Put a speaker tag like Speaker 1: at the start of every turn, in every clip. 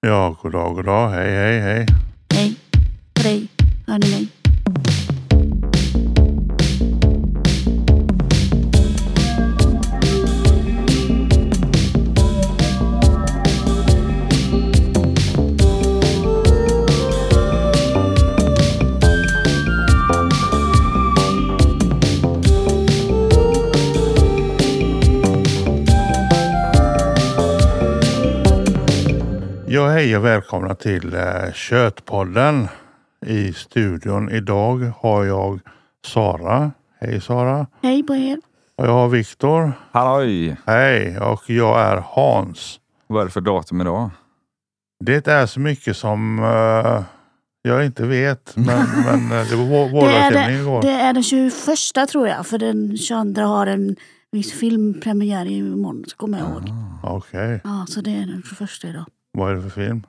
Speaker 1: Ja, god dag, god dag. Hej, hej, hej.
Speaker 2: Hej. På dig. Hör ni mig?
Speaker 1: Ja, hej och välkomna till eh, Köttpodden. I studion idag har jag Sara. Hej Sara.
Speaker 2: Hej på er.
Speaker 1: Och jag har Viktor.
Speaker 3: Halloj!
Speaker 1: Hej. Och jag är Hans.
Speaker 3: Vad är det för datum idag?
Speaker 1: Det är så mycket som eh, jag inte vet. Men, men eh, det var vår-
Speaker 2: Det är det.
Speaker 1: vårdagsstämning igår.
Speaker 2: Det är den 21 tror jag, för den 22 har en viss filmpremiär imorgon, så kommer jag ihåg.
Speaker 1: Okej.
Speaker 2: Ja, så det är den 21 idag.
Speaker 1: Vad är det för film?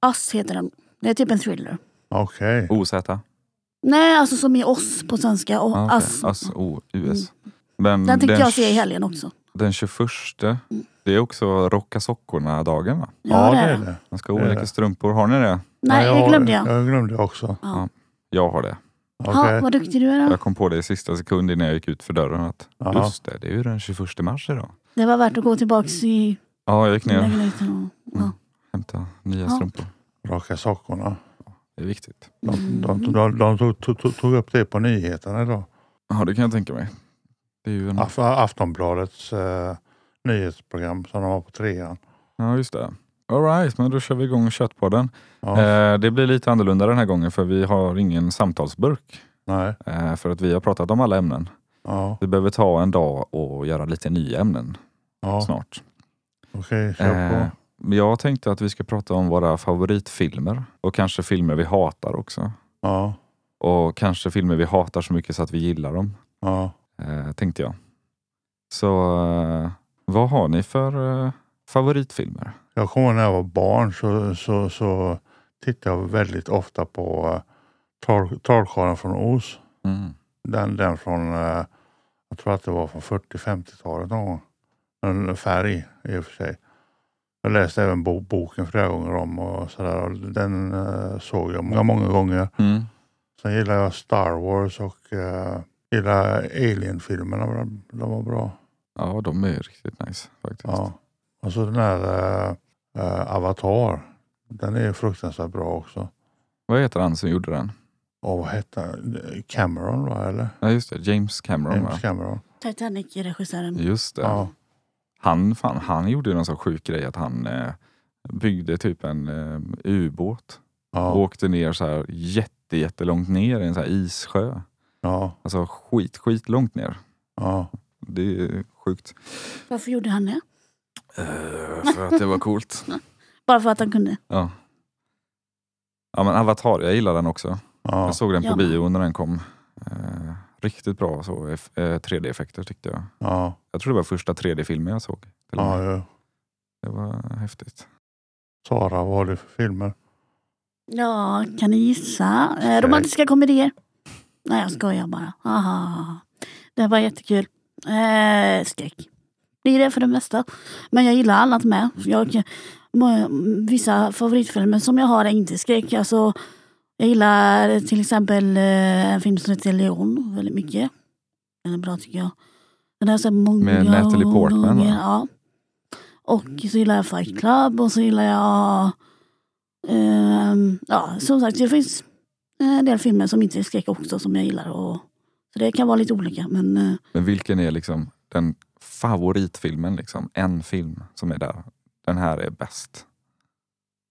Speaker 2: Ass heter den. Det är typ en thriller.
Speaker 1: Okej.
Speaker 3: OZ?
Speaker 2: Nej, alltså som i oss på svenska. Och
Speaker 3: Ah, okej.
Speaker 2: ass.
Speaker 3: Ass, O, US. Men
Speaker 2: alltså. Den tänkte jag se i
Speaker 3: tj-
Speaker 2: helgen också.
Speaker 3: Den 21, det är också rocka sockorna-dagen va?
Speaker 1: Ja, det är det.
Speaker 3: Man ska ha
Speaker 1: Det är
Speaker 3: olika
Speaker 1: det.
Speaker 3: strumpor. Har ni det?
Speaker 2: Nej,
Speaker 1: jag,
Speaker 2: det
Speaker 1: har-
Speaker 2: glömde jag.
Speaker 1: Jag glömde också.
Speaker 3: Jag har det.
Speaker 2: Ja,
Speaker 1: Okej.
Speaker 2: vad duktig du är. då.
Speaker 3: Jag kom på det i sista sekund innan jag gick ut för dörren. Att,
Speaker 1: Ja.
Speaker 3: just det, det är ju den 21 mars idag.
Speaker 2: Det var värt att gå tillbaks i
Speaker 3: Ja, jag gick ner och
Speaker 2: lägenheten. Och, ja.
Speaker 3: hämtade nya
Speaker 2: Ja.
Speaker 3: strumpor.
Speaker 1: Raka sockorna.
Speaker 3: Det är viktigt.
Speaker 1: De, de,
Speaker 2: Mm.
Speaker 3: Mm.
Speaker 1: de, de tog, tog, tog upp det på nyheterna idag.
Speaker 3: Ja, det kan jag tänka mig. Det är ju en...
Speaker 1: Af Aftonbladets eh, nyhetsprogram som de har på trean.
Speaker 3: Ja, just det. All right, men då kör vi igång Köttpodden.
Speaker 1: Ja,
Speaker 3: Eh, det blir lite annorlunda den här gången för vi har ingen samtalsburk.
Speaker 1: nej,
Speaker 3: Eh, För att vi har pratat om alla ämnen.
Speaker 1: ja,
Speaker 3: Vi behöver ta en dag och göra lite nya ämnen
Speaker 1: ja,
Speaker 3: snart.
Speaker 1: okej, kör på.
Speaker 3: Eh, men jag tänkte att vi ska prata om våra favoritfilmer och kanske filmer vi hatar också.
Speaker 1: Ja,
Speaker 3: Och kanske filmer vi hatar så mycket så att vi gillar dem,
Speaker 1: ja.
Speaker 3: eh, tänkte jag. Så eh, vad har ni för eh, favoritfilmer?
Speaker 1: Jag kommer ihåg när jag var barn så, så, så tittade jag väldigt ofta på eh, Troll- Trollkarlen från Oz. Mm. Den, den från, eh, jag tror att det var från 40-50-talet någon gång. En färg i och för sig. Jag läste även bo boken flera gånger om och sådär. och Den eh, såg jag många, många gånger.
Speaker 3: Mm.
Speaker 1: Sen gillar jag Star Wars och eh, gillar Alien-filmerna. De- De var bra.
Speaker 3: Ja, de är riktigt nice faktiskt.
Speaker 1: Ja. Och så den här eh, eh, Avatar. Den är fruktansvärt bra också.
Speaker 3: Vad heter han som gjorde den?
Speaker 1: Och vad hette han? Cameron va? Eller?
Speaker 3: Ja, just det. James Cameron.
Speaker 1: James
Speaker 3: va?
Speaker 1: Cameron.
Speaker 2: Titanic-regissören.
Speaker 3: Just det.
Speaker 1: Ja.
Speaker 3: Han, fan, han gjorde ju någon sån sjuk grej att han eh, byggde typ en eh, ubåt och
Speaker 1: Ja.
Speaker 3: åkte ner så här jätte, jättelångt ner i en så här issjö.
Speaker 1: Ja.
Speaker 3: Alltså skit, skit långt ner.
Speaker 1: Ja.
Speaker 3: Det är sjukt.
Speaker 2: Varför gjorde han det?
Speaker 3: Eh, för att det var coolt.
Speaker 2: Bara för att han kunde.
Speaker 3: Ja. ja men Avatar, jag gillar den också.
Speaker 1: Ja.
Speaker 3: Jag såg den på
Speaker 2: Jag med.
Speaker 3: bio när den kom. Eh, riktigt bra så, eff- eh, 3D-effekter tyckte jag.
Speaker 1: Ja.
Speaker 3: Jag tror det var första 3D-filmen jag såg. till och med.
Speaker 1: ja. ja.
Speaker 3: Det var häftigt.
Speaker 1: Sara, vad har du för filmer?
Speaker 2: Ja, kan ni gissa? Eh, romantiska komedier. Nej, jag skojar bara. Aha. Det var jättekul. Eh, skräck. Blir det för det mesta. Men jag gillar annat med. Jag, må- vissa favoritfilmer som jag har är inte skräck. Alltså, jag gillar till exempel eh, en film som heter Leon väldigt mycket. Den är bra tycker jag. Den har jag sett många
Speaker 3: Med Natalie Portman, va?
Speaker 2: gånger. Ja. Och så gillar jag Fight Club och så gillar jag Ehm, ja, som sagt, det finns eh, en del filmer som inte är skräck också som jag gillar. Och, så det kan vara lite olika. Men eh,
Speaker 3: Men vilken är liksom den favoritfilmen? Liksom? En film som är där. Den här är bäst.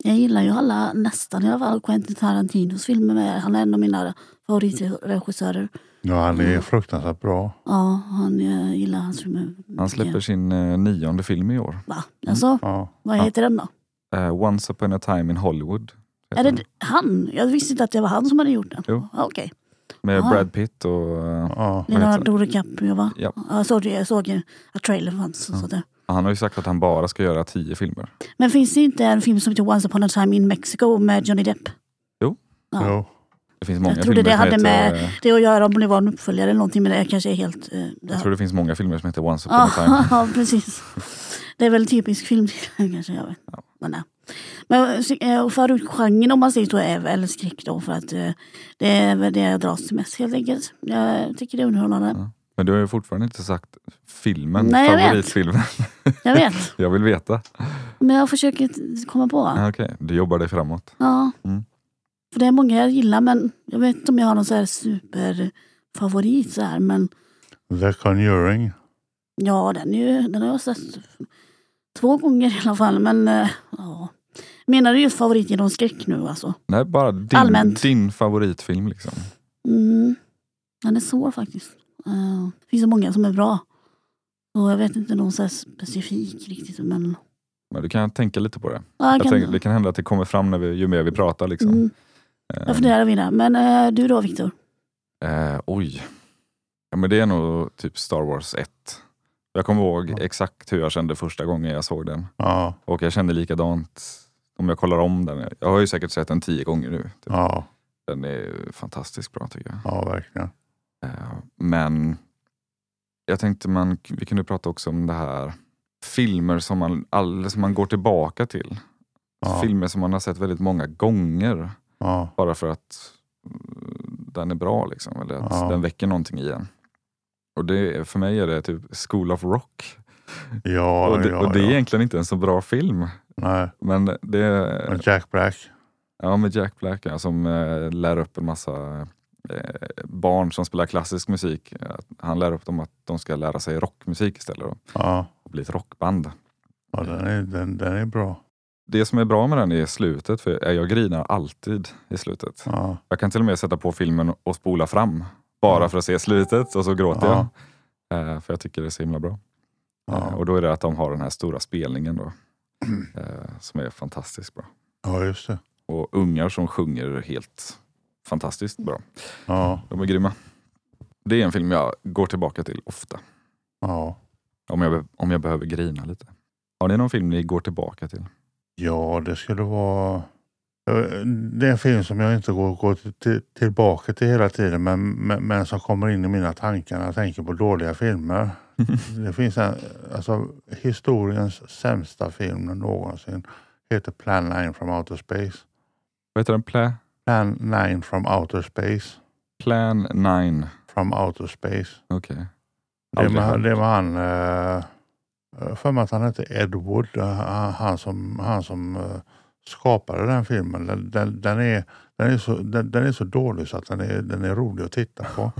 Speaker 2: jag gillar ju alla, nästan i alla fall, Quentin Tarantinos filmer. Med. Han är en av mina favoritregissörer.
Speaker 1: Ja, han är
Speaker 2: Mm.
Speaker 1: fruktansvärt bra.
Speaker 2: Ja, han, jag gillar hans filmer.
Speaker 3: Han
Speaker 2: mycket.
Speaker 3: släpper sin eh, nionde film i år.
Speaker 2: Va? Alltså,
Speaker 1: Ja.
Speaker 2: vad heter den då?
Speaker 3: Eh, Once upon a time in Hollywood. heter
Speaker 2: Är det
Speaker 3: den.
Speaker 2: d- han? Jag visste inte att det var han som hade gjort den.
Speaker 3: Jo.
Speaker 2: Ja, Okej.
Speaker 3: Med
Speaker 2: Ah.
Speaker 3: Brad Pitt och eh,
Speaker 1: Ja.
Speaker 3: heter den?
Speaker 2: Leonardo DiCaprio va?
Speaker 3: Ja.
Speaker 2: Jag såg, det- jag såg en a trailer för hans. och sådär.
Speaker 3: han har ju sagt att han bara ska göra tio filmer.
Speaker 2: Men finns det inte en film som heter Once upon a time in Mexico med Johnny Depp? Ja.
Speaker 1: Jo.
Speaker 3: Det finns många
Speaker 2: Jag trodde
Speaker 3: filmer
Speaker 2: det
Speaker 3: som
Speaker 2: hade
Speaker 3: heter,
Speaker 2: med-
Speaker 3: eh,
Speaker 2: det att göra om det var en uppföljare eller någonting men det kanske är helt... Eh, det
Speaker 3: Jag tror det finns många filmer som heter Once upon a
Speaker 2: ja,
Speaker 3: time.
Speaker 2: ja, precis. Det är väl typisk film kanske, jag vet. Men, nej. Men eh, och förortsgenren om man säger så är väl skräck då för att eh, det är väl det jag dras till mest helt enkelt. Jag tycker det är underhållande.
Speaker 3: Men du har ju fortfarande inte sagt filmen,
Speaker 2: Nej, jag vet.
Speaker 3: favoritfilmen.
Speaker 2: Jag vet,
Speaker 3: Jag vill veta.
Speaker 2: men jag försöker t- komma på.
Speaker 3: Ah, Okej, du jobbar dig framåt.
Speaker 2: Ja.
Speaker 3: Mm.
Speaker 2: För det är många jag gillar men jag vet inte om jag har någon så här superfavorit så här men
Speaker 1: The Conjuring.
Speaker 2: Ja, den, är ju, den har jag sett två gånger i alla fall. Men eh, ja. Menar du just favorit genom skräck nu alltså?
Speaker 3: Nej, bara din,
Speaker 2: Allmänt.
Speaker 3: din favoritfilm. Liksom.
Speaker 2: Mm. Den är svår faktiskt. Eh, Det finns så många som är bra. Och jag vet inte någon så här specifik riktigt. Men
Speaker 3: Men du kan tänka lite på det.
Speaker 2: ja, jag
Speaker 3: Jag
Speaker 2: kan,
Speaker 3: tänker, det kan hända att det kommer fram när vi, ju mer vi pratar. Liksom.
Speaker 2: mm, jag
Speaker 3: Ehm,
Speaker 2: funderar vidare. Men eh, du då Viktor?
Speaker 3: Eh, oj. Ja, men det är nog typ Star Wars 1. Jag kommer ihåg
Speaker 1: Ja.
Speaker 3: exakt hur jag kände första gången jag såg den.
Speaker 1: Ja,
Speaker 3: Och jag kände likadant om jag kollar om den. Jag har ju säkert sett den tio gånger nu. Typ.
Speaker 1: ja,
Speaker 3: Den är fantastiskt bra tycker jag.
Speaker 1: ja verkligen.
Speaker 3: Eh, Men jag tänkte man, vi kunde prata också om det här filmer som man, all, som man går tillbaka till.
Speaker 1: Ja.
Speaker 3: Filmer som man har sett väldigt många gånger
Speaker 1: Ja,
Speaker 3: bara för att mm, den är bra liksom, eller att
Speaker 1: Ja.
Speaker 3: den väcker någonting i en. Och det, är- för mig är det typ School of Rock.
Speaker 1: ja,
Speaker 3: och, det,
Speaker 1: ja,
Speaker 3: och det är
Speaker 1: ja.
Speaker 3: egentligen inte en så bra film.
Speaker 1: Nej.
Speaker 3: Men det
Speaker 1: Men Jack Black.
Speaker 3: Ja, med Jack Black ja, som eh, lär upp en massa eh, barn som spelar klassisk musik. Att Han lär upp dem att de ska lära sig rockmusik istället och
Speaker 1: Ja,
Speaker 3: och bli ett rockband.
Speaker 1: ja den, är, den, den är bra.
Speaker 3: Det som är bra med den är slutet, för jag grinar alltid i slutet.
Speaker 1: Ja,
Speaker 3: Jag kan till och med sätta på filmen och spola fram bara
Speaker 1: Ja.
Speaker 3: för att se slutet och så gråter
Speaker 1: Ja.
Speaker 3: jag. Eh, För jag tycker det är så himla bra. Eh,
Speaker 1: ja.
Speaker 3: Och då är det att de har den här stora spelningen då, eh, som är fantastiskt bra.
Speaker 1: ja just det.
Speaker 3: Och ungar som sjunger helt fantastiskt bra.
Speaker 1: Ja,
Speaker 3: De är grymma. Det är en film jag går tillbaka till ofta.
Speaker 1: ja.
Speaker 3: Om jag, be- om jag behöver grina lite. Har ni någon film ni går tillbaka till?
Speaker 1: ja, det skulle vara... Eh, Det är en film som jag inte går, går till- till, tillbaka till hela tiden men, men, men som kommer in i mina tankar när jag tänker på dåliga filmer. Det finns en, alltså historiens sämsta film någonsin. Heter Plan 9 from Outer Space.
Speaker 3: Vad heter den? Pla,
Speaker 1: Plan 9 from Outer Space.
Speaker 3: Plan 9.
Speaker 1: From Outer Space.
Speaker 3: Okej.
Speaker 1: Det är
Speaker 3: Aldrig
Speaker 1: med,
Speaker 3: hört.
Speaker 1: det är med han, eh, för mig att han hette Ed Wood, eh, han han som, han som eh, skapade den filmen. Den, den, den, är, den, är så, den, den är så dålig så att den är, den är rolig att titta på.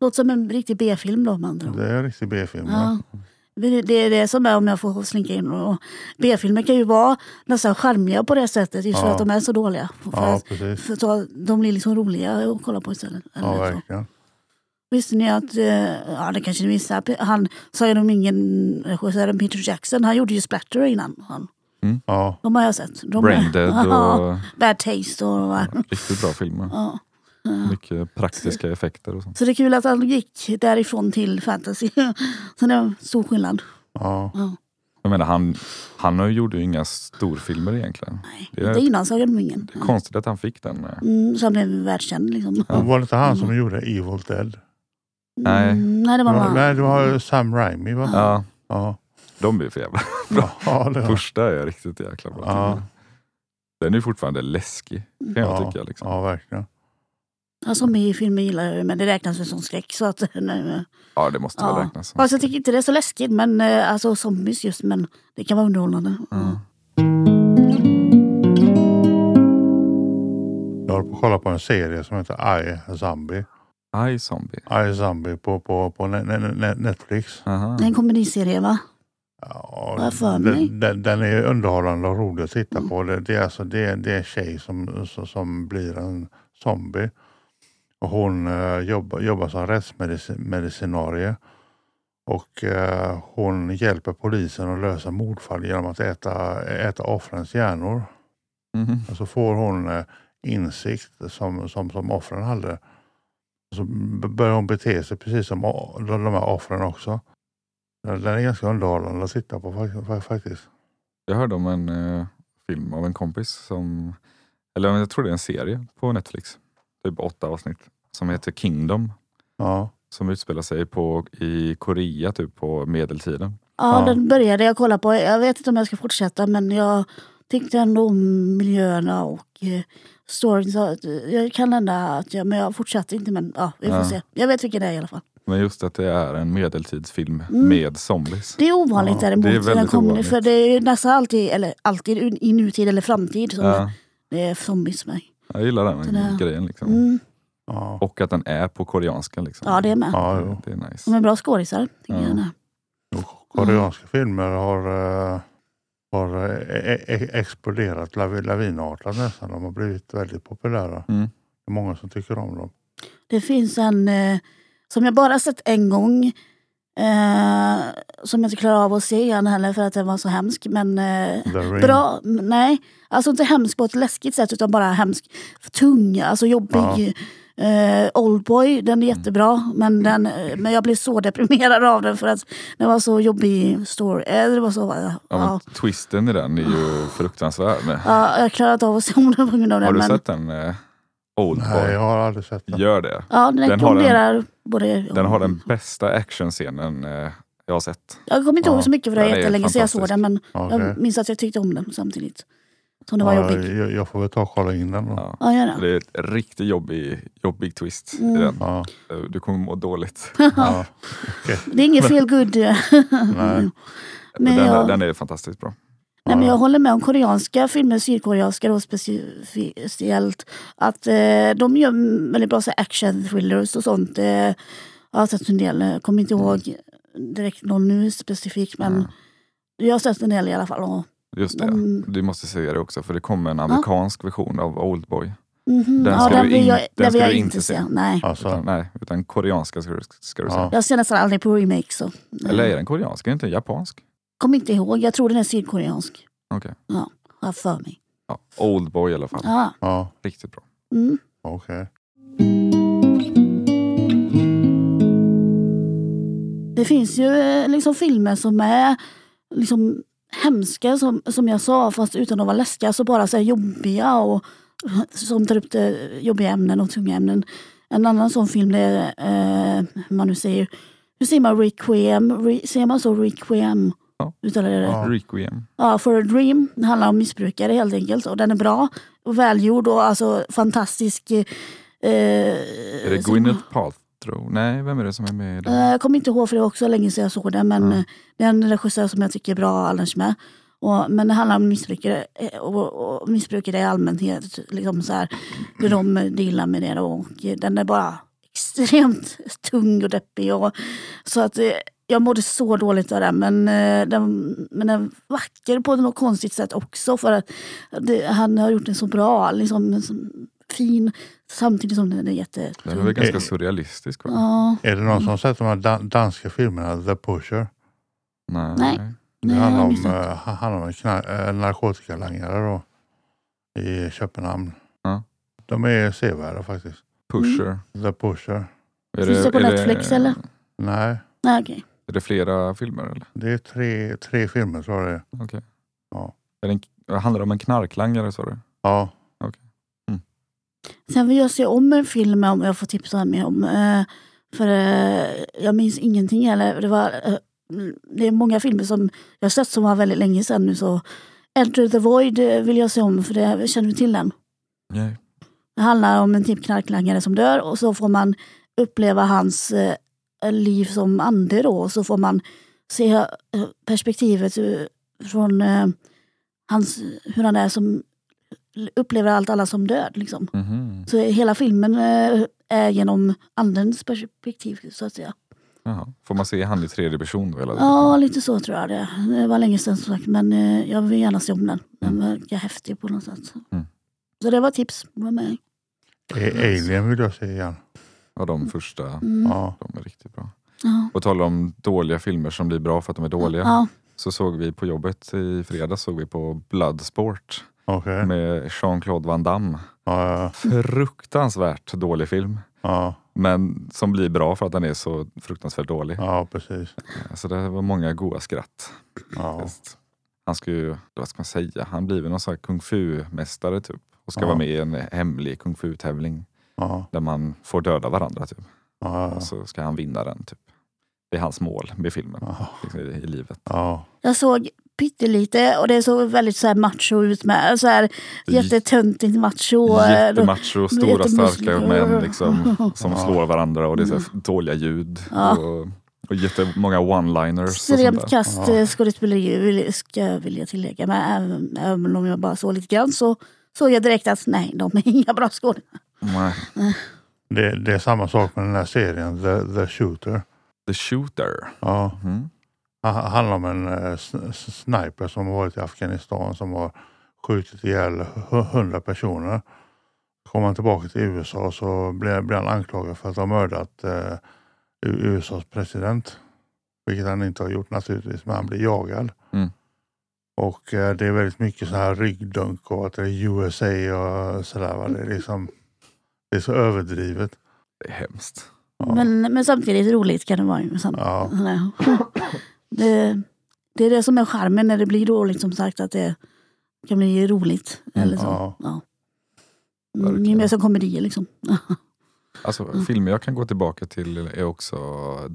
Speaker 2: Låter som en riktig B-film då med andra ord.
Speaker 1: Det är en riktig B-film. va?
Speaker 2: Ja. Det det är det som är om jag får slinka in. Och B-filmer kan ju vara nästan charmiga på det sättet just för
Speaker 1: Ja.
Speaker 2: att de är så dåliga. För
Speaker 1: Ja,
Speaker 2: att-
Speaker 1: precis.
Speaker 2: För att de blir liksom roliga att kolla på istället.
Speaker 1: Ja,
Speaker 2: Eller så.
Speaker 1: verkligen.
Speaker 2: Visste ni att, eh, ja det kanske ni visste, Pe- han sa ju om ingen eh, regissören Peter Jackson, han gjorde ju Splatter innan. Han,
Speaker 1: Ja,
Speaker 2: de har jag sett. De
Speaker 3: Braindead
Speaker 2: Ja,
Speaker 3: och
Speaker 2: Bad Taste och vad.
Speaker 3: riktigt bra filmer.
Speaker 2: Ja.
Speaker 3: Mycket praktiska effekter och sånt.
Speaker 2: Så det är kul att han gick därifrån till fantasy. Så det är stor skillnad.
Speaker 1: ja,
Speaker 3: Jag menar, han, han gjorde ju inga storfilmer egentligen.
Speaker 2: Det är innan Sagan om ringen.
Speaker 3: Det är konstigt att han fick den. eh.
Speaker 2: Mm, så han blev världskänd liksom.
Speaker 1: Det var det inte han som gjorde Evil Dead?
Speaker 3: Nej.
Speaker 2: Mm, nej, det var
Speaker 1: Ja,
Speaker 2: man.
Speaker 1: nej, det var Sam Raimi va?
Speaker 3: Ja,
Speaker 1: Ja,
Speaker 3: de blir för jävla.
Speaker 1: ja, det var,
Speaker 3: Första är riktigt jäkla bra.
Speaker 1: Ja.
Speaker 3: Den är ju fortfarande läskig, kan jag
Speaker 1: Ja.
Speaker 3: tycka. Liksom.
Speaker 1: ja verkligen.
Speaker 2: Ja, som i filmen gillar jag ju, men det räknas väl som skräck. Så att, nej,
Speaker 3: Ja, det måste väl
Speaker 2: Ja.
Speaker 3: räknas. som-
Speaker 2: alltså, jag tycker inte det är så läskigt, men eh, alltså zombies just, men det kan vara underhållande.
Speaker 3: Ja.
Speaker 1: Jag håller på att kolla på en serie som heter I Zombie.
Speaker 3: Aj, zombie.
Speaker 1: I Zombie på, på, på ne- ne- ne- Netflix.
Speaker 3: Aha.
Speaker 2: Det är en komediserie va?
Speaker 1: Ja,
Speaker 2: Vad för mig?
Speaker 1: den, den, den är underhållande och rolig att titta på. Det, det, är alltså, det, är- det är en tjej som, som- som blir en zombie. Och hon eh, jobbar, jobbar som rättsmedicinarie. Och eh, hon hjälper polisen att lösa mordfall genom att äta, äta offrens hjärnor.
Speaker 3: Mhm.
Speaker 1: Och så får hon eh, insikt som, som, som offren hade. Och så b- börjar hon bete sig precis som o- de de här offren också. Den den är ganska underhållande att titta på fak- fak- faktiskt.
Speaker 3: Jag hörde om en eh, film av en kompis som, eller jag tror det är en serie på Netflix, typ åtta avsnitt, som heter Kingdom.
Speaker 1: Ja,
Speaker 3: Som utspelar sig på, i Korea typ på medeltiden.
Speaker 2: Ja,
Speaker 1: Ja.
Speaker 2: den började jag kolla på. Jag vet inte om jag ska fortsätta, men jag tyckte ändå om miljöerna och eh, storyn. Så att, eh, jag kan hända att jag, men jag fortsatte inte men ja, vi får
Speaker 3: Ja.
Speaker 2: se. Jag vet vilken det är i alla fall.
Speaker 3: Men just att det är en medeltidsfilm
Speaker 2: Mm.
Speaker 3: med zombies.
Speaker 2: Det är ovanligt
Speaker 3: Ja,
Speaker 2: däremot.
Speaker 3: det är
Speaker 2: när den
Speaker 3: väldigt
Speaker 2: kommer,
Speaker 3: ovanligt.
Speaker 2: För det är ju nästan alltid, eller alltid un- i nutid eller framtid som
Speaker 3: Ja,
Speaker 2: det är zombies med.
Speaker 3: jag gillar den
Speaker 2: Den är-
Speaker 3: grejen. Liksom.
Speaker 2: Mm.
Speaker 1: Ja,
Speaker 3: Och att den är på koreanska. Liksom.
Speaker 2: Ja, det är med.
Speaker 1: ja jo.
Speaker 3: Det är nice.
Speaker 2: De är bra skådisar. tycker
Speaker 3: Ja.
Speaker 2: jag den är.
Speaker 1: Koreanska filmer har, eh, har eh, e- e- exploderat lavi- lavinartat nästan. De har blivit väldigt populära.
Speaker 3: Mm.
Speaker 1: Det är många som tycker om dem.
Speaker 2: Det finns en eh, som jag bara sett en gång. Eh, som jag inte klarar av att se igen heller för att den var så hemsk. Men eh,
Speaker 1: The Ring.
Speaker 2: bra, m- nej. Alltså inte hemsk på ett läskigt sätt utan bara hemsk. Tung, alltså jobbig. Eh, Oldboy, den är
Speaker 3: Mm.
Speaker 2: jättebra. Men, den, eh, men jag blev så deprimerad av den för att den var så jobbig story. Eh, det var så, eh,
Speaker 3: Ja, men
Speaker 2: ja.
Speaker 3: Twisten i den är ju fruktansvärd.
Speaker 2: Ja, jag klarade inte av att se om den på grund av
Speaker 3: har
Speaker 2: den.
Speaker 3: du
Speaker 2: men,
Speaker 3: sett den? Eh,
Speaker 1: Nej,
Speaker 3: Oldboy?
Speaker 1: jag har aldrig sett den.
Speaker 3: Gör det.
Speaker 2: Ja, den
Speaker 3: Den har den-
Speaker 2: rekommenderar både...
Speaker 3: Den har den bästa actionscenen eh, jag har sett.
Speaker 2: Jag kommer inte
Speaker 1: Ja,
Speaker 2: ihåg så mycket för det var
Speaker 3: den är
Speaker 2: jättelänge sedan jag såg den men
Speaker 1: Okej.
Speaker 2: jag minns att jag tyckte om den samtidigt. Som det var
Speaker 1: ja,
Speaker 2: jobbig.
Speaker 1: jag, jag får väl ta och kolla in den då. Ja.
Speaker 3: Ja.
Speaker 2: Ja, gör det.
Speaker 3: Det är ett riktigt jobbig, jobbig twist i
Speaker 2: Mm.
Speaker 3: den.
Speaker 1: Ja,
Speaker 3: Eh, Du kommer må dåligt.
Speaker 1: ja.
Speaker 2: Det är ingen feel good. eh,
Speaker 1: Nej.
Speaker 2: Men
Speaker 3: Men den,
Speaker 2: jag-
Speaker 3: är, den är fantastiskt bra.
Speaker 2: Nej, men jag håller med om koreanska filmer, sydkoreanska då speciellt. Att eh, de gör mm, väldigt bra så här action thrillers och sånt. Eh, jag har sett en del, eh, kommer inte ihåg direkt någon nu specifikt men
Speaker 3: Mm.
Speaker 2: jag har sett en del i alla fall. Och,
Speaker 3: Just det.
Speaker 2: Mm.
Speaker 3: Du måste se det också för det kommer en amerikansk version av Oldboy.
Speaker 2: Mhm,
Speaker 3: Den ska du
Speaker 2: vill
Speaker 3: in-
Speaker 2: jag,
Speaker 3: den
Speaker 2: den
Speaker 3: ska
Speaker 2: vill jag
Speaker 3: du
Speaker 2: inte
Speaker 3: inte se.
Speaker 2: se. Nej.
Speaker 1: Alltså,
Speaker 3: Utan, nej, utan koreanska ska du, ska du se.
Speaker 1: ja.
Speaker 2: Jag ser nästan aldrig på remakes. så, eh,
Speaker 3: Eller är den koreansk? Är den inte japansk?
Speaker 2: Kommer inte ihåg, jag tror den är sydkoreansk.
Speaker 3: Okej.
Speaker 2: Ja, har jag för mig.
Speaker 3: Ja, Oldboy i alla fall.
Speaker 2: Ja.
Speaker 1: ja
Speaker 3: Riktigt bra.
Speaker 2: Mm.
Speaker 1: okej.
Speaker 2: Det finns ju eh, liksom filmer som är liksom hemska som, som jag sa, fast utan att vara läskiga. Så bara så här jobbiga och som tar upp det, jobbiga ämnen och tunga ämnen. En annan sån film det är, eh, hur man nu säger, hur säger man requiem? Re, säger man så requiem?
Speaker 3: Ja.
Speaker 2: Uttalar jag det rätt?
Speaker 1: Ja.
Speaker 3: Requiem.
Speaker 2: Ja, Eh, For a Dream. Den handlar om missbrukare helt enkelt. Och den är bra och välgjord och alltså fantastisk. Eh,
Speaker 3: Är det Gwyneth Paltrow? Nej, vem är det som är med i den?
Speaker 2: Eh, Jag kommer inte ihåg för det var också länge sedan jag såg den. Men
Speaker 3: Mm.
Speaker 2: eh, det är en regissör som jag tycker är bra annars med. Och, men det handlar om missbrukare eh, och, och missbrukare i allmänhet. Liksom så här, hur de eh, dealar med det. då. Och eh, den är bara extremt tung och deppig. Och, så att eh, jag mådde så dåligt av den. Men, eh, den, men den är vacker på något konstigt sätt också. För att det, han har gjort den så bra. Liksom, en sån fin samtidigt som den är
Speaker 3: Den är väl
Speaker 2: jättetung.
Speaker 3: ganska
Speaker 1: Eh,
Speaker 3: surrealistisk? Va?
Speaker 2: Ja,
Speaker 1: Är det någon som har sett de här dan- danska filmerna The Pusher?
Speaker 3: Nej.
Speaker 2: Nej. nej,
Speaker 1: det
Speaker 2: jag
Speaker 1: handlar
Speaker 2: har
Speaker 1: om,
Speaker 2: missat.
Speaker 1: eh, han- handlar om en kna- eh, narkotikalangare då, i Köpenhamn.
Speaker 3: Ja.
Speaker 1: De är sevärda faktiskt.
Speaker 3: Pusher.
Speaker 1: The Pusher.
Speaker 3: Är
Speaker 2: Mm. Finns det på Netflix,
Speaker 3: det,
Speaker 2: eller?
Speaker 1: Nej,
Speaker 2: Nej, okej.
Speaker 3: Är det flera filmer? Eller?
Speaker 1: det är tre, tre filmer tror jag det är.
Speaker 3: Okej.
Speaker 1: Ja.
Speaker 3: Är det en, handlar det om en knarklangare sa du?
Speaker 1: Ja,
Speaker 2: Sen vill jag se om en film om jag får tipsa mig om. eh, För eh, jag minns ingenting heller. Det, var, eh, det är många filmer som jag har sett som var väldigt länge sedan nu. Så Enter the Void eh, vill jag se om för det känner du till den.
Speaker 3: Nej.
Speaker 2: Det handlar om en typ knarklangare som dör och så får man uppleva hans eh, liv som ande då och så får man se eh, perspektivet ur- från eh, hans, hur han är som upplever allt alla som död liksom.
Speaker 3: Mhm.
Speaker 2: Så hela filmen eh, är genom andens perspektiv så att säga.
Speaker 3: Jaha. Får man se han i tredje person då hela tiden?
Speaker 2: Ja, lite så tror jag det är. Det var länge sedan som sagt men eh, jag vill gärna se om den. Den verkar häftig på något sätt.
Speaker 3: Mm.
Speaker 2: Så det var tips. Var med.
Speaker 1: A- Alien vill jag se igen.
Speaker 3: Ja, de första.
Speaker 2: Mm. Ja.
Speaker 1: Ja.
Speaker 3: De är riktigt bra.
Speaker 2: Ja.
Speaker 3: Och tala om dåliga filmer som blir bra för att de är dåliga. Så såg vi på jobbet i fredags såg vi på Bloodsport
Speaker 1: Okej.
Speaker 3: med Jean-Claude Van Damme.
Speaker 1: Ja, ja,
Speaker 3: Fruktansvärt dålig film.
Speaker 1: ja,
Speaker 3: Men som blir bra för att den är så fruktansvärt dålig.
Speaker 1: ja, precis.
Speaker 3: Så det var många goa skratt.
Speaker 1: Ja,
Speaker 3: Just. Han ska ju, vad ska man säga, han blir väl någon sån här kung fu-mästare typ. Och ska
Speaker 1: Ja.
Speaker 3: vara med i en hemlig kung fu-tävling
Speaker 1: ja,
Speaker 3: där man får döda varandra typ.
Speaker 1: ja,
Speaker 3: Och så ska han vinna den typ. Det är hans mål med filmen,
Speaker 1: ja,
Speaker 3: liksom, i, i livet.
Speaker 1: ja.
Speaker 2: Jag såg pyttelite och det är så väldigt så här macho ut med. Så här, jättetöntigt macho. eh,
Speaker 3: Jättemacho, stora
Speaker 2: jättemuskler.
Speaker 3: starka män liksom, som
Speaker 1: Ja.
Speaker 3: slår varandra och det är så här dåliga ljud.
Speaker 2: Mm. Ja.
Speaker 3: Och, och jättemånga one-liners. och sånt där.
Speaker 2: Extremt kast eh, skådespeleri vill- ska jag vilja tillägga. Men även, även om jag bara såg lite grann så såg jag direkt att nej, de är inga bra skådespelare.
Speaker 3: Nej.
Speaker 1: Det, det är samma sak med den här serien, The, The Shooter.
Speaker 3: The Shooter.
Speaker 1: Ja,
Speaker 3: Mhm.
Speaker 1: han han handlar om en eh, s- s- sniper som har varit i Afghanistan som har skjutit ihjäl hu- hundra personer. Kommer han tillbaka till USA så blir, blir han anklagad för att ha mördat eh, U- USAs president. Vilket han inte har gjort naturligtvis, men han blir jagad.
Speaker 3: Mm.
Speaker 1: Och eh, det är väldigt mycket så här ryggdunk och att det är USA och sådär. va. Det är liksom, det är så överdrivet.
Speaker 3: Det är hemskt.
Speaker 1: Ja.
Speaker 2: Men, men samtidigt roligt kan det vara. ju. Sam-
Speaker 1: Ja.
Speaker 2: Nej. Det, det är det som är charmen när det blir dåligt som sagt att det kan bli roligt. Eller så.
Speaker 1: Ja.
Speaker 2: Ja. Mm,
Speaker 3: Verkligen.
Speaker 2: det är mer som komedier liksom.
Speaker 3: Alltså,
Speaker 2: Mm.
Speaker 3: Filmer jag kan gå tillbaka till är också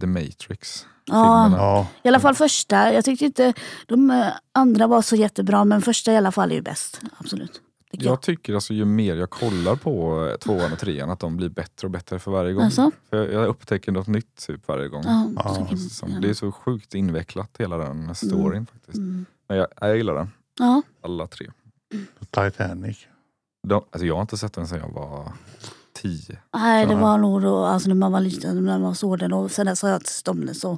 Speaker 3: The Matrix.
Speaker 2: Ja.
Speaker 3: Filmerna.
Speaker 1: Ja,
Speaker 2: I alla fall första. Jag tyckte inte de eh, andra var så jättebra men första i alla fall är ju bäst. Absolut. Tycker jag.
Speaker 3: Jag tycker alltså ju mer jag kollar på eh, tvåan och trean att de blir bättre och bättre för varje gång.
Speaker 2: Alltså?
Speaker 3: För jag, jag upptäcker något nytt typ varje gång.
Speaker 2: Ja,
Speaker 1: Ja,
Speaker 2: så kan-
Speaker 3: Som, det är så sjukt invecklat hela den storyn faktiskt.
Speaker 2: Mm.
Speaker 3: Men jag, jag gillar den,
Speaker 2: Ja.
Speaker 3: alla tre.
Speaker 1: Titanic.
Speaker 3: De, alltså jag har inte sett den sedan jag var tio.
Speaker 2: Nej, det
Speaker 1: Ja.
Speaker 2: var nog då, alltså när man var liten, när man såg den och sen dess har jag inte sett om den så.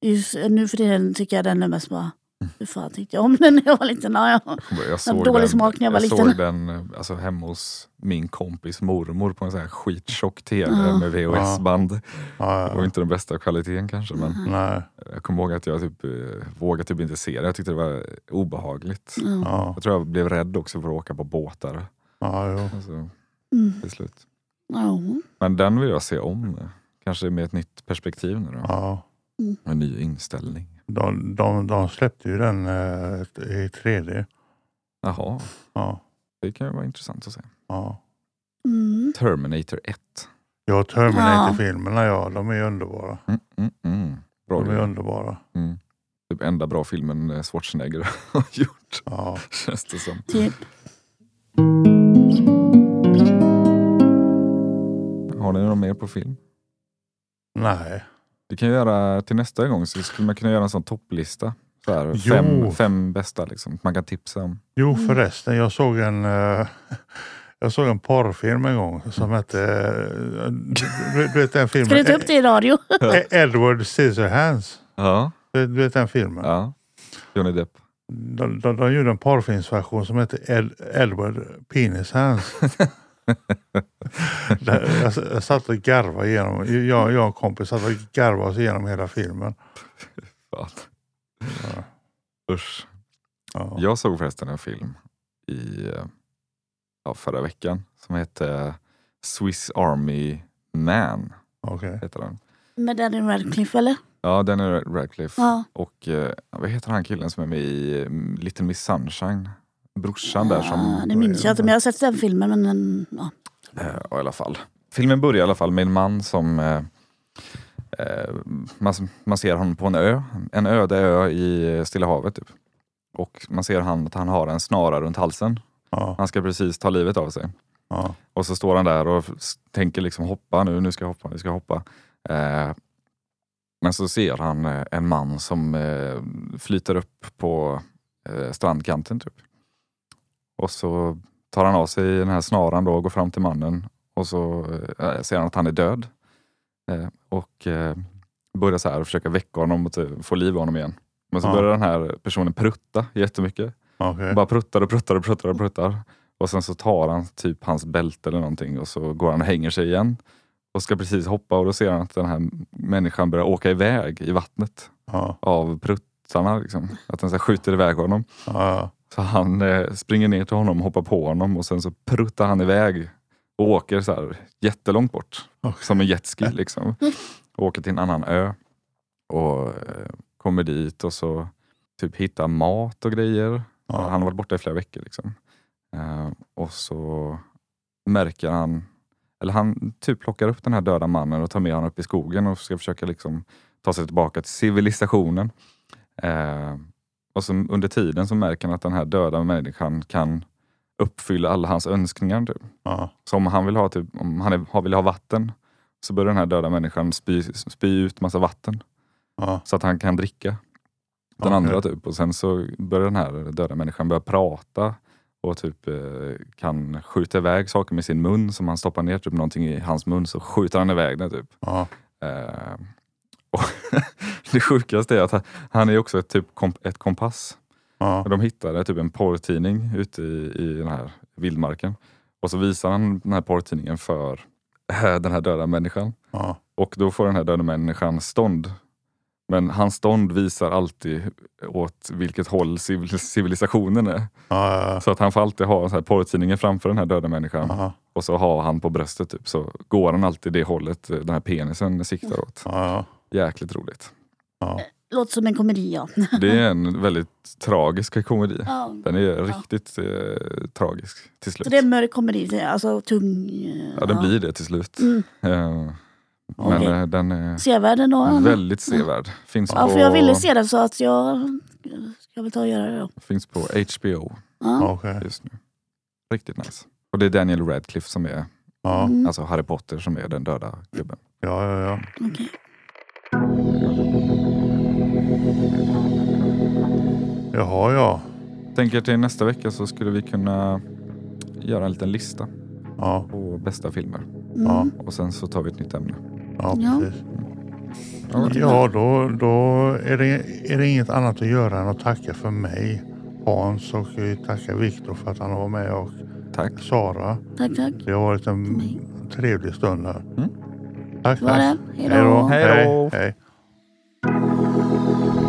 Speaker 2: Just, nu för tiden tycker jag den är mest bara,
Speaker 3: Mm.
Speaker 2: hur fan tyckte jag om den när jag var liten? Ja, ja.
Speaker 3: Jag kommer- Jag såg
Speaker 2: dålig
Speaker 3: den,
Speaker 2: smak när jag var liten.
Speaker 3: såg den eh, alltså, hemma hos min kompis mormor på en sån här skittjock tv
Speaker 2: Ja.
Speaker 3: med VHS-band.
Speaker 1: Ja,
Speaker 3: Det var inte den bästa kvaliteten kanske men
Speaker 2: Mm.
Speaker 1: nej,
Speaker 3: jag kommer ihåg att jag typ, eh, vågade typ inte se det. Jag tyckte det var obehagligt.
Speaker 2: Ja.
Speaker 1: ja,
Speaker 3: Jag tror jag blev rädd också för att åka på båtar
Speaker 1: ja, jo.
Speaker 3: alltså,
Speaker 2: Mm.
Speaker 3: till slut.
Speaker 2: Ja.
Speaker 3: Men den vill jag se om. Kanske med ett nytt perspektiv nu då.
Speaker 1: Ja.
Speaker 3: En ny inställning.
Speaker 1: De, de, de släppte ju den eh, i 3D.
Speaker 3: Jaha,
Speaker 1: Ja,
Speaker 3: det kan ju vara intressant att se.
Speaker 1: ja.
Speaker 2: Mm.
Speaker 3: Terminator 1.
Speaker 1: Ja,
Speaker 2: Ja.
Speaker 1: Terminator-filmerna ja, de är ju underbara.
Speaker 3: Mm, mm, mm. Bra
Speaker 1: De är
Speaker 3: grej.
Speaker 1: underbara.
Speaker 3: Mm. Typ enda bra filmen eh, Schwarzenegger har gjort,
Speaker 1: Ja.
Speaker 3: känns det som.
Speaker 2: Typ.
Speaker 3: Har ni någon mer på film?
Speaker 1: Nej,
Speaker 3: Vi kan göra till nästa gång, så skulle man kunna göra en sån topplista. Så här,
Speaker 1: Jo.
Speaker 3: fem, fem bästa liksom, man kan tipsa om.
Speaker 1: jo
Speaker 2: Mm.
Speaker 1: förresten, jag såg en eh, jag såg en porrfilm en gång som hette, eh, du, du vet den
Speaker 2: Ska du
Speaker 1: filmen?
Speaker 2: ta upp det i radio?
Speaker 1: Eh, Edward Scissorhands.
Speaker 3: Ja.
Speaker 1: Du du vet den filmen?
Speaker 3: ja. Johnny Depp.
Speaker 1: De, de, de gjorde en porrfilmsversion som hette Ed, Edward Penis Hands. Där jag, s- jag satt och garvade igenom, jag, jag och en kompis satt och garvade oss igenom hela filmen.
Speaker 3: Fan.
Speaker 1: Ja.
Speaker 3: Usch.
Speaker 1: Ja.
Speaker 3: Jag såg förresten en film i eh, ja, förra veckan som hette eh, Swiss Army Man.
Speaker 1: Okej.
Speaker 3: Heter den.
Speaker 2: Med Daniel Radcliffe eller?
Speaker 3: Ja, den är Radcliffe.
Speaker 2: Ja.
Speaker 3: Och eh, vad heter han killen som är med i eh, Little Miss Sunshine? Brorsan där som...
Speaker 2: Ja, det minns jag inte men jag har sett den filmen. Men den, ja.
Speaker 3: Eh, ja, i alla fall. Filmen börjar i alla fall med en man som eh, eh, man, man ser honom på en ö, en öde ö i Stilla havet. Typ. Och man ser han, att han har en snara runt halsen.
Speaker 1: Ja,
Speaker 3: Han ska precis ta livet av sig.
Speaker 1: ja,
Speaker 3: Och så står han där och s- tänker liksom hoppa nu, nu ska jag hoppa, nu ska jag hoppa. Eh, men så ser han eh, en man som eh, flyter upp på eh, strandkanten. Typ. Och så tar han av sig den här snaran då och går fram till mannen och så eh, ser han att han är död. Eh, och eh, börjar så här försöka väcka honom och typ få liv i honom igen. Men så
Speaker 1: Ja.
Speaker 3: börjar den här personen prutta jättemycket.
Speaker 1: okej.
Speaker 3: Och Bara pruttar och pruttar och pruttar och pruttar. Och sen så tar han typ hans bälte eller någonting och så går han och hänger sig igen. Och ska precis hoppa och då ser han att den här människan börjar åka iväg i vattnet
Speaker 1: Ja,
Speaker 3: av pruttarna. Liksom. Att den så här skjuter iväg honom.
Speaker 1: ja,
Speaker 3: Så han eh, springer ner till honom, hoppar på honom och sen så pruttar han iväg och åker så här jättelångt bort.
Speaker 1: Okej.
Speaker 3: Som en jetski liksom. Och åker till en annan ö. Och eh, kommer dit och så typ hittar mat och grejer.
Speaker 1: ja,
Speaker 3: Han har varit borta i flera veckor. Liksom. Eh, och så märker han, eller han typ plockar upp den här döda mannen och tar med honom upp i skogen och ska försöka liksom ta sig tillbaka till civilisationen. Eh, Och så under tiden så märker han att den här döda människan kan uppfylla alla hans önskningar. Typ.
Speaker 1: Ja.
Speaker 3: Så om han vill ha, typ, om han är, har- vill ha vatten så börjar den här döda människan spy, spy ut massa vatten
Speaker 1: Ja.
Speaker 3: så att han kan dricka. Den
Speaker 1: Okej.
Speaker 3: andra typ. Och sen så börjar den här döda människan börja prata och typ eh, kan skjuta iväg saker med sin mun som han stoppar ner typ någonting i hans mun så skjuter han iväg det typ.
Speaker 1: Ja.
Speaker 3: Eh, och det sjukaste är att han- han är också ett, typ komp- ett kompass.
Speaker 1: Ja.
Speaker 3: Och De hittade typ en porrtidning ute i, i den här vildmarken. Och så visar han den här porrtidningen för eh, den här döda människan.
Speaker 1: Ja.
Speaker 3: Och då får den här döda människan stånd. Men hans stånd visar alltid åt vilket håll civil- civilisationen är.
Speaker 1: Ja.
Speaker 3: Så att han får alltid ha den här porrtidningen framför den här döda
Speaker 1: Ja.
Speaker 3: människan.
Speaker 1: Ja.
Speaker 3: Och så har han på bröstet typ. Så går han alltid det hållet eh, den här penisen siktar åt.
Speaker 1: Ja.
Speaker 3: Jäkligt roligt.
Speaker 1: Ja.
Speaker 2: Låter som en komedi, ja.
Speaker 3: Det är en väldigt tragisk komedi.
Speaker 2: ja.
Speaker 3: Den är riktigt eh, tragisk till slut.
Speaker 2: Så det är en mörk komedi, alltså tung... eh,
Speaker 3: Ja, den blir det till slut.
Speaker 2: Mm.
Speaker 3: Eh, Men
Speaker 1: Okej.
Speaker 3: eh, den är
Speaker 2: Sevärden då? Anna?
Speaker 3: väldigt sevärd. Finns,
Speaker 2: Ja, för jag ville
Speaker 3: på,
Speaker 2: se den så att jag eh, ska väl ta och göra det då.
Speaker 3: finns på HBO
Speaker 2: Ja.
Speaker 1: Okej.
Speaker 3: just nu. Riktigt nice. Och det är Daniel Radcliffe som är,
Speaker 1: Ja.
Speaker 2: Mm,
Speaker 3: alltså Harry Potter som är den döda gubben.
Speaker 1: Ja, ja, ja.
Speaker 2: okej.
Speaker 1: Jaha, ja.
Speaker 3: Tänker till nästa vecka så skulle vi kunna göra en liten lista
Speaker 1: Ja,
Speaker 3: på bästa filmer.
Speaker 1: ja,
Speaker 2: Mm.
Speaker 3: Och sen så tar vi ett nytt ämne.
Speaker 1: ja
Speaker 2: Ja.
Speaker 1: precis.
Speaker 3: Ja,
Speaker 1: Ja, då, då är, det, är det inget annat att göra än att tacka för mig, Hans och tacka Viktor för att han var med och
Speaker 3: Tack.
Speaker 1: Sara.
Speaker 2: Tack, tack.
Speaker 1: Det har varit en
Speaker 2: Nej.
Speaker 1: trevlig stund här.
Speaker 3: Mm.
Speaker 1: Tack,
Speaker 2: Det var
Speaker 1: tack.
Speaker 2: det. Hej då.
Speaker 3: Hej då.
Speaker 1: Hej.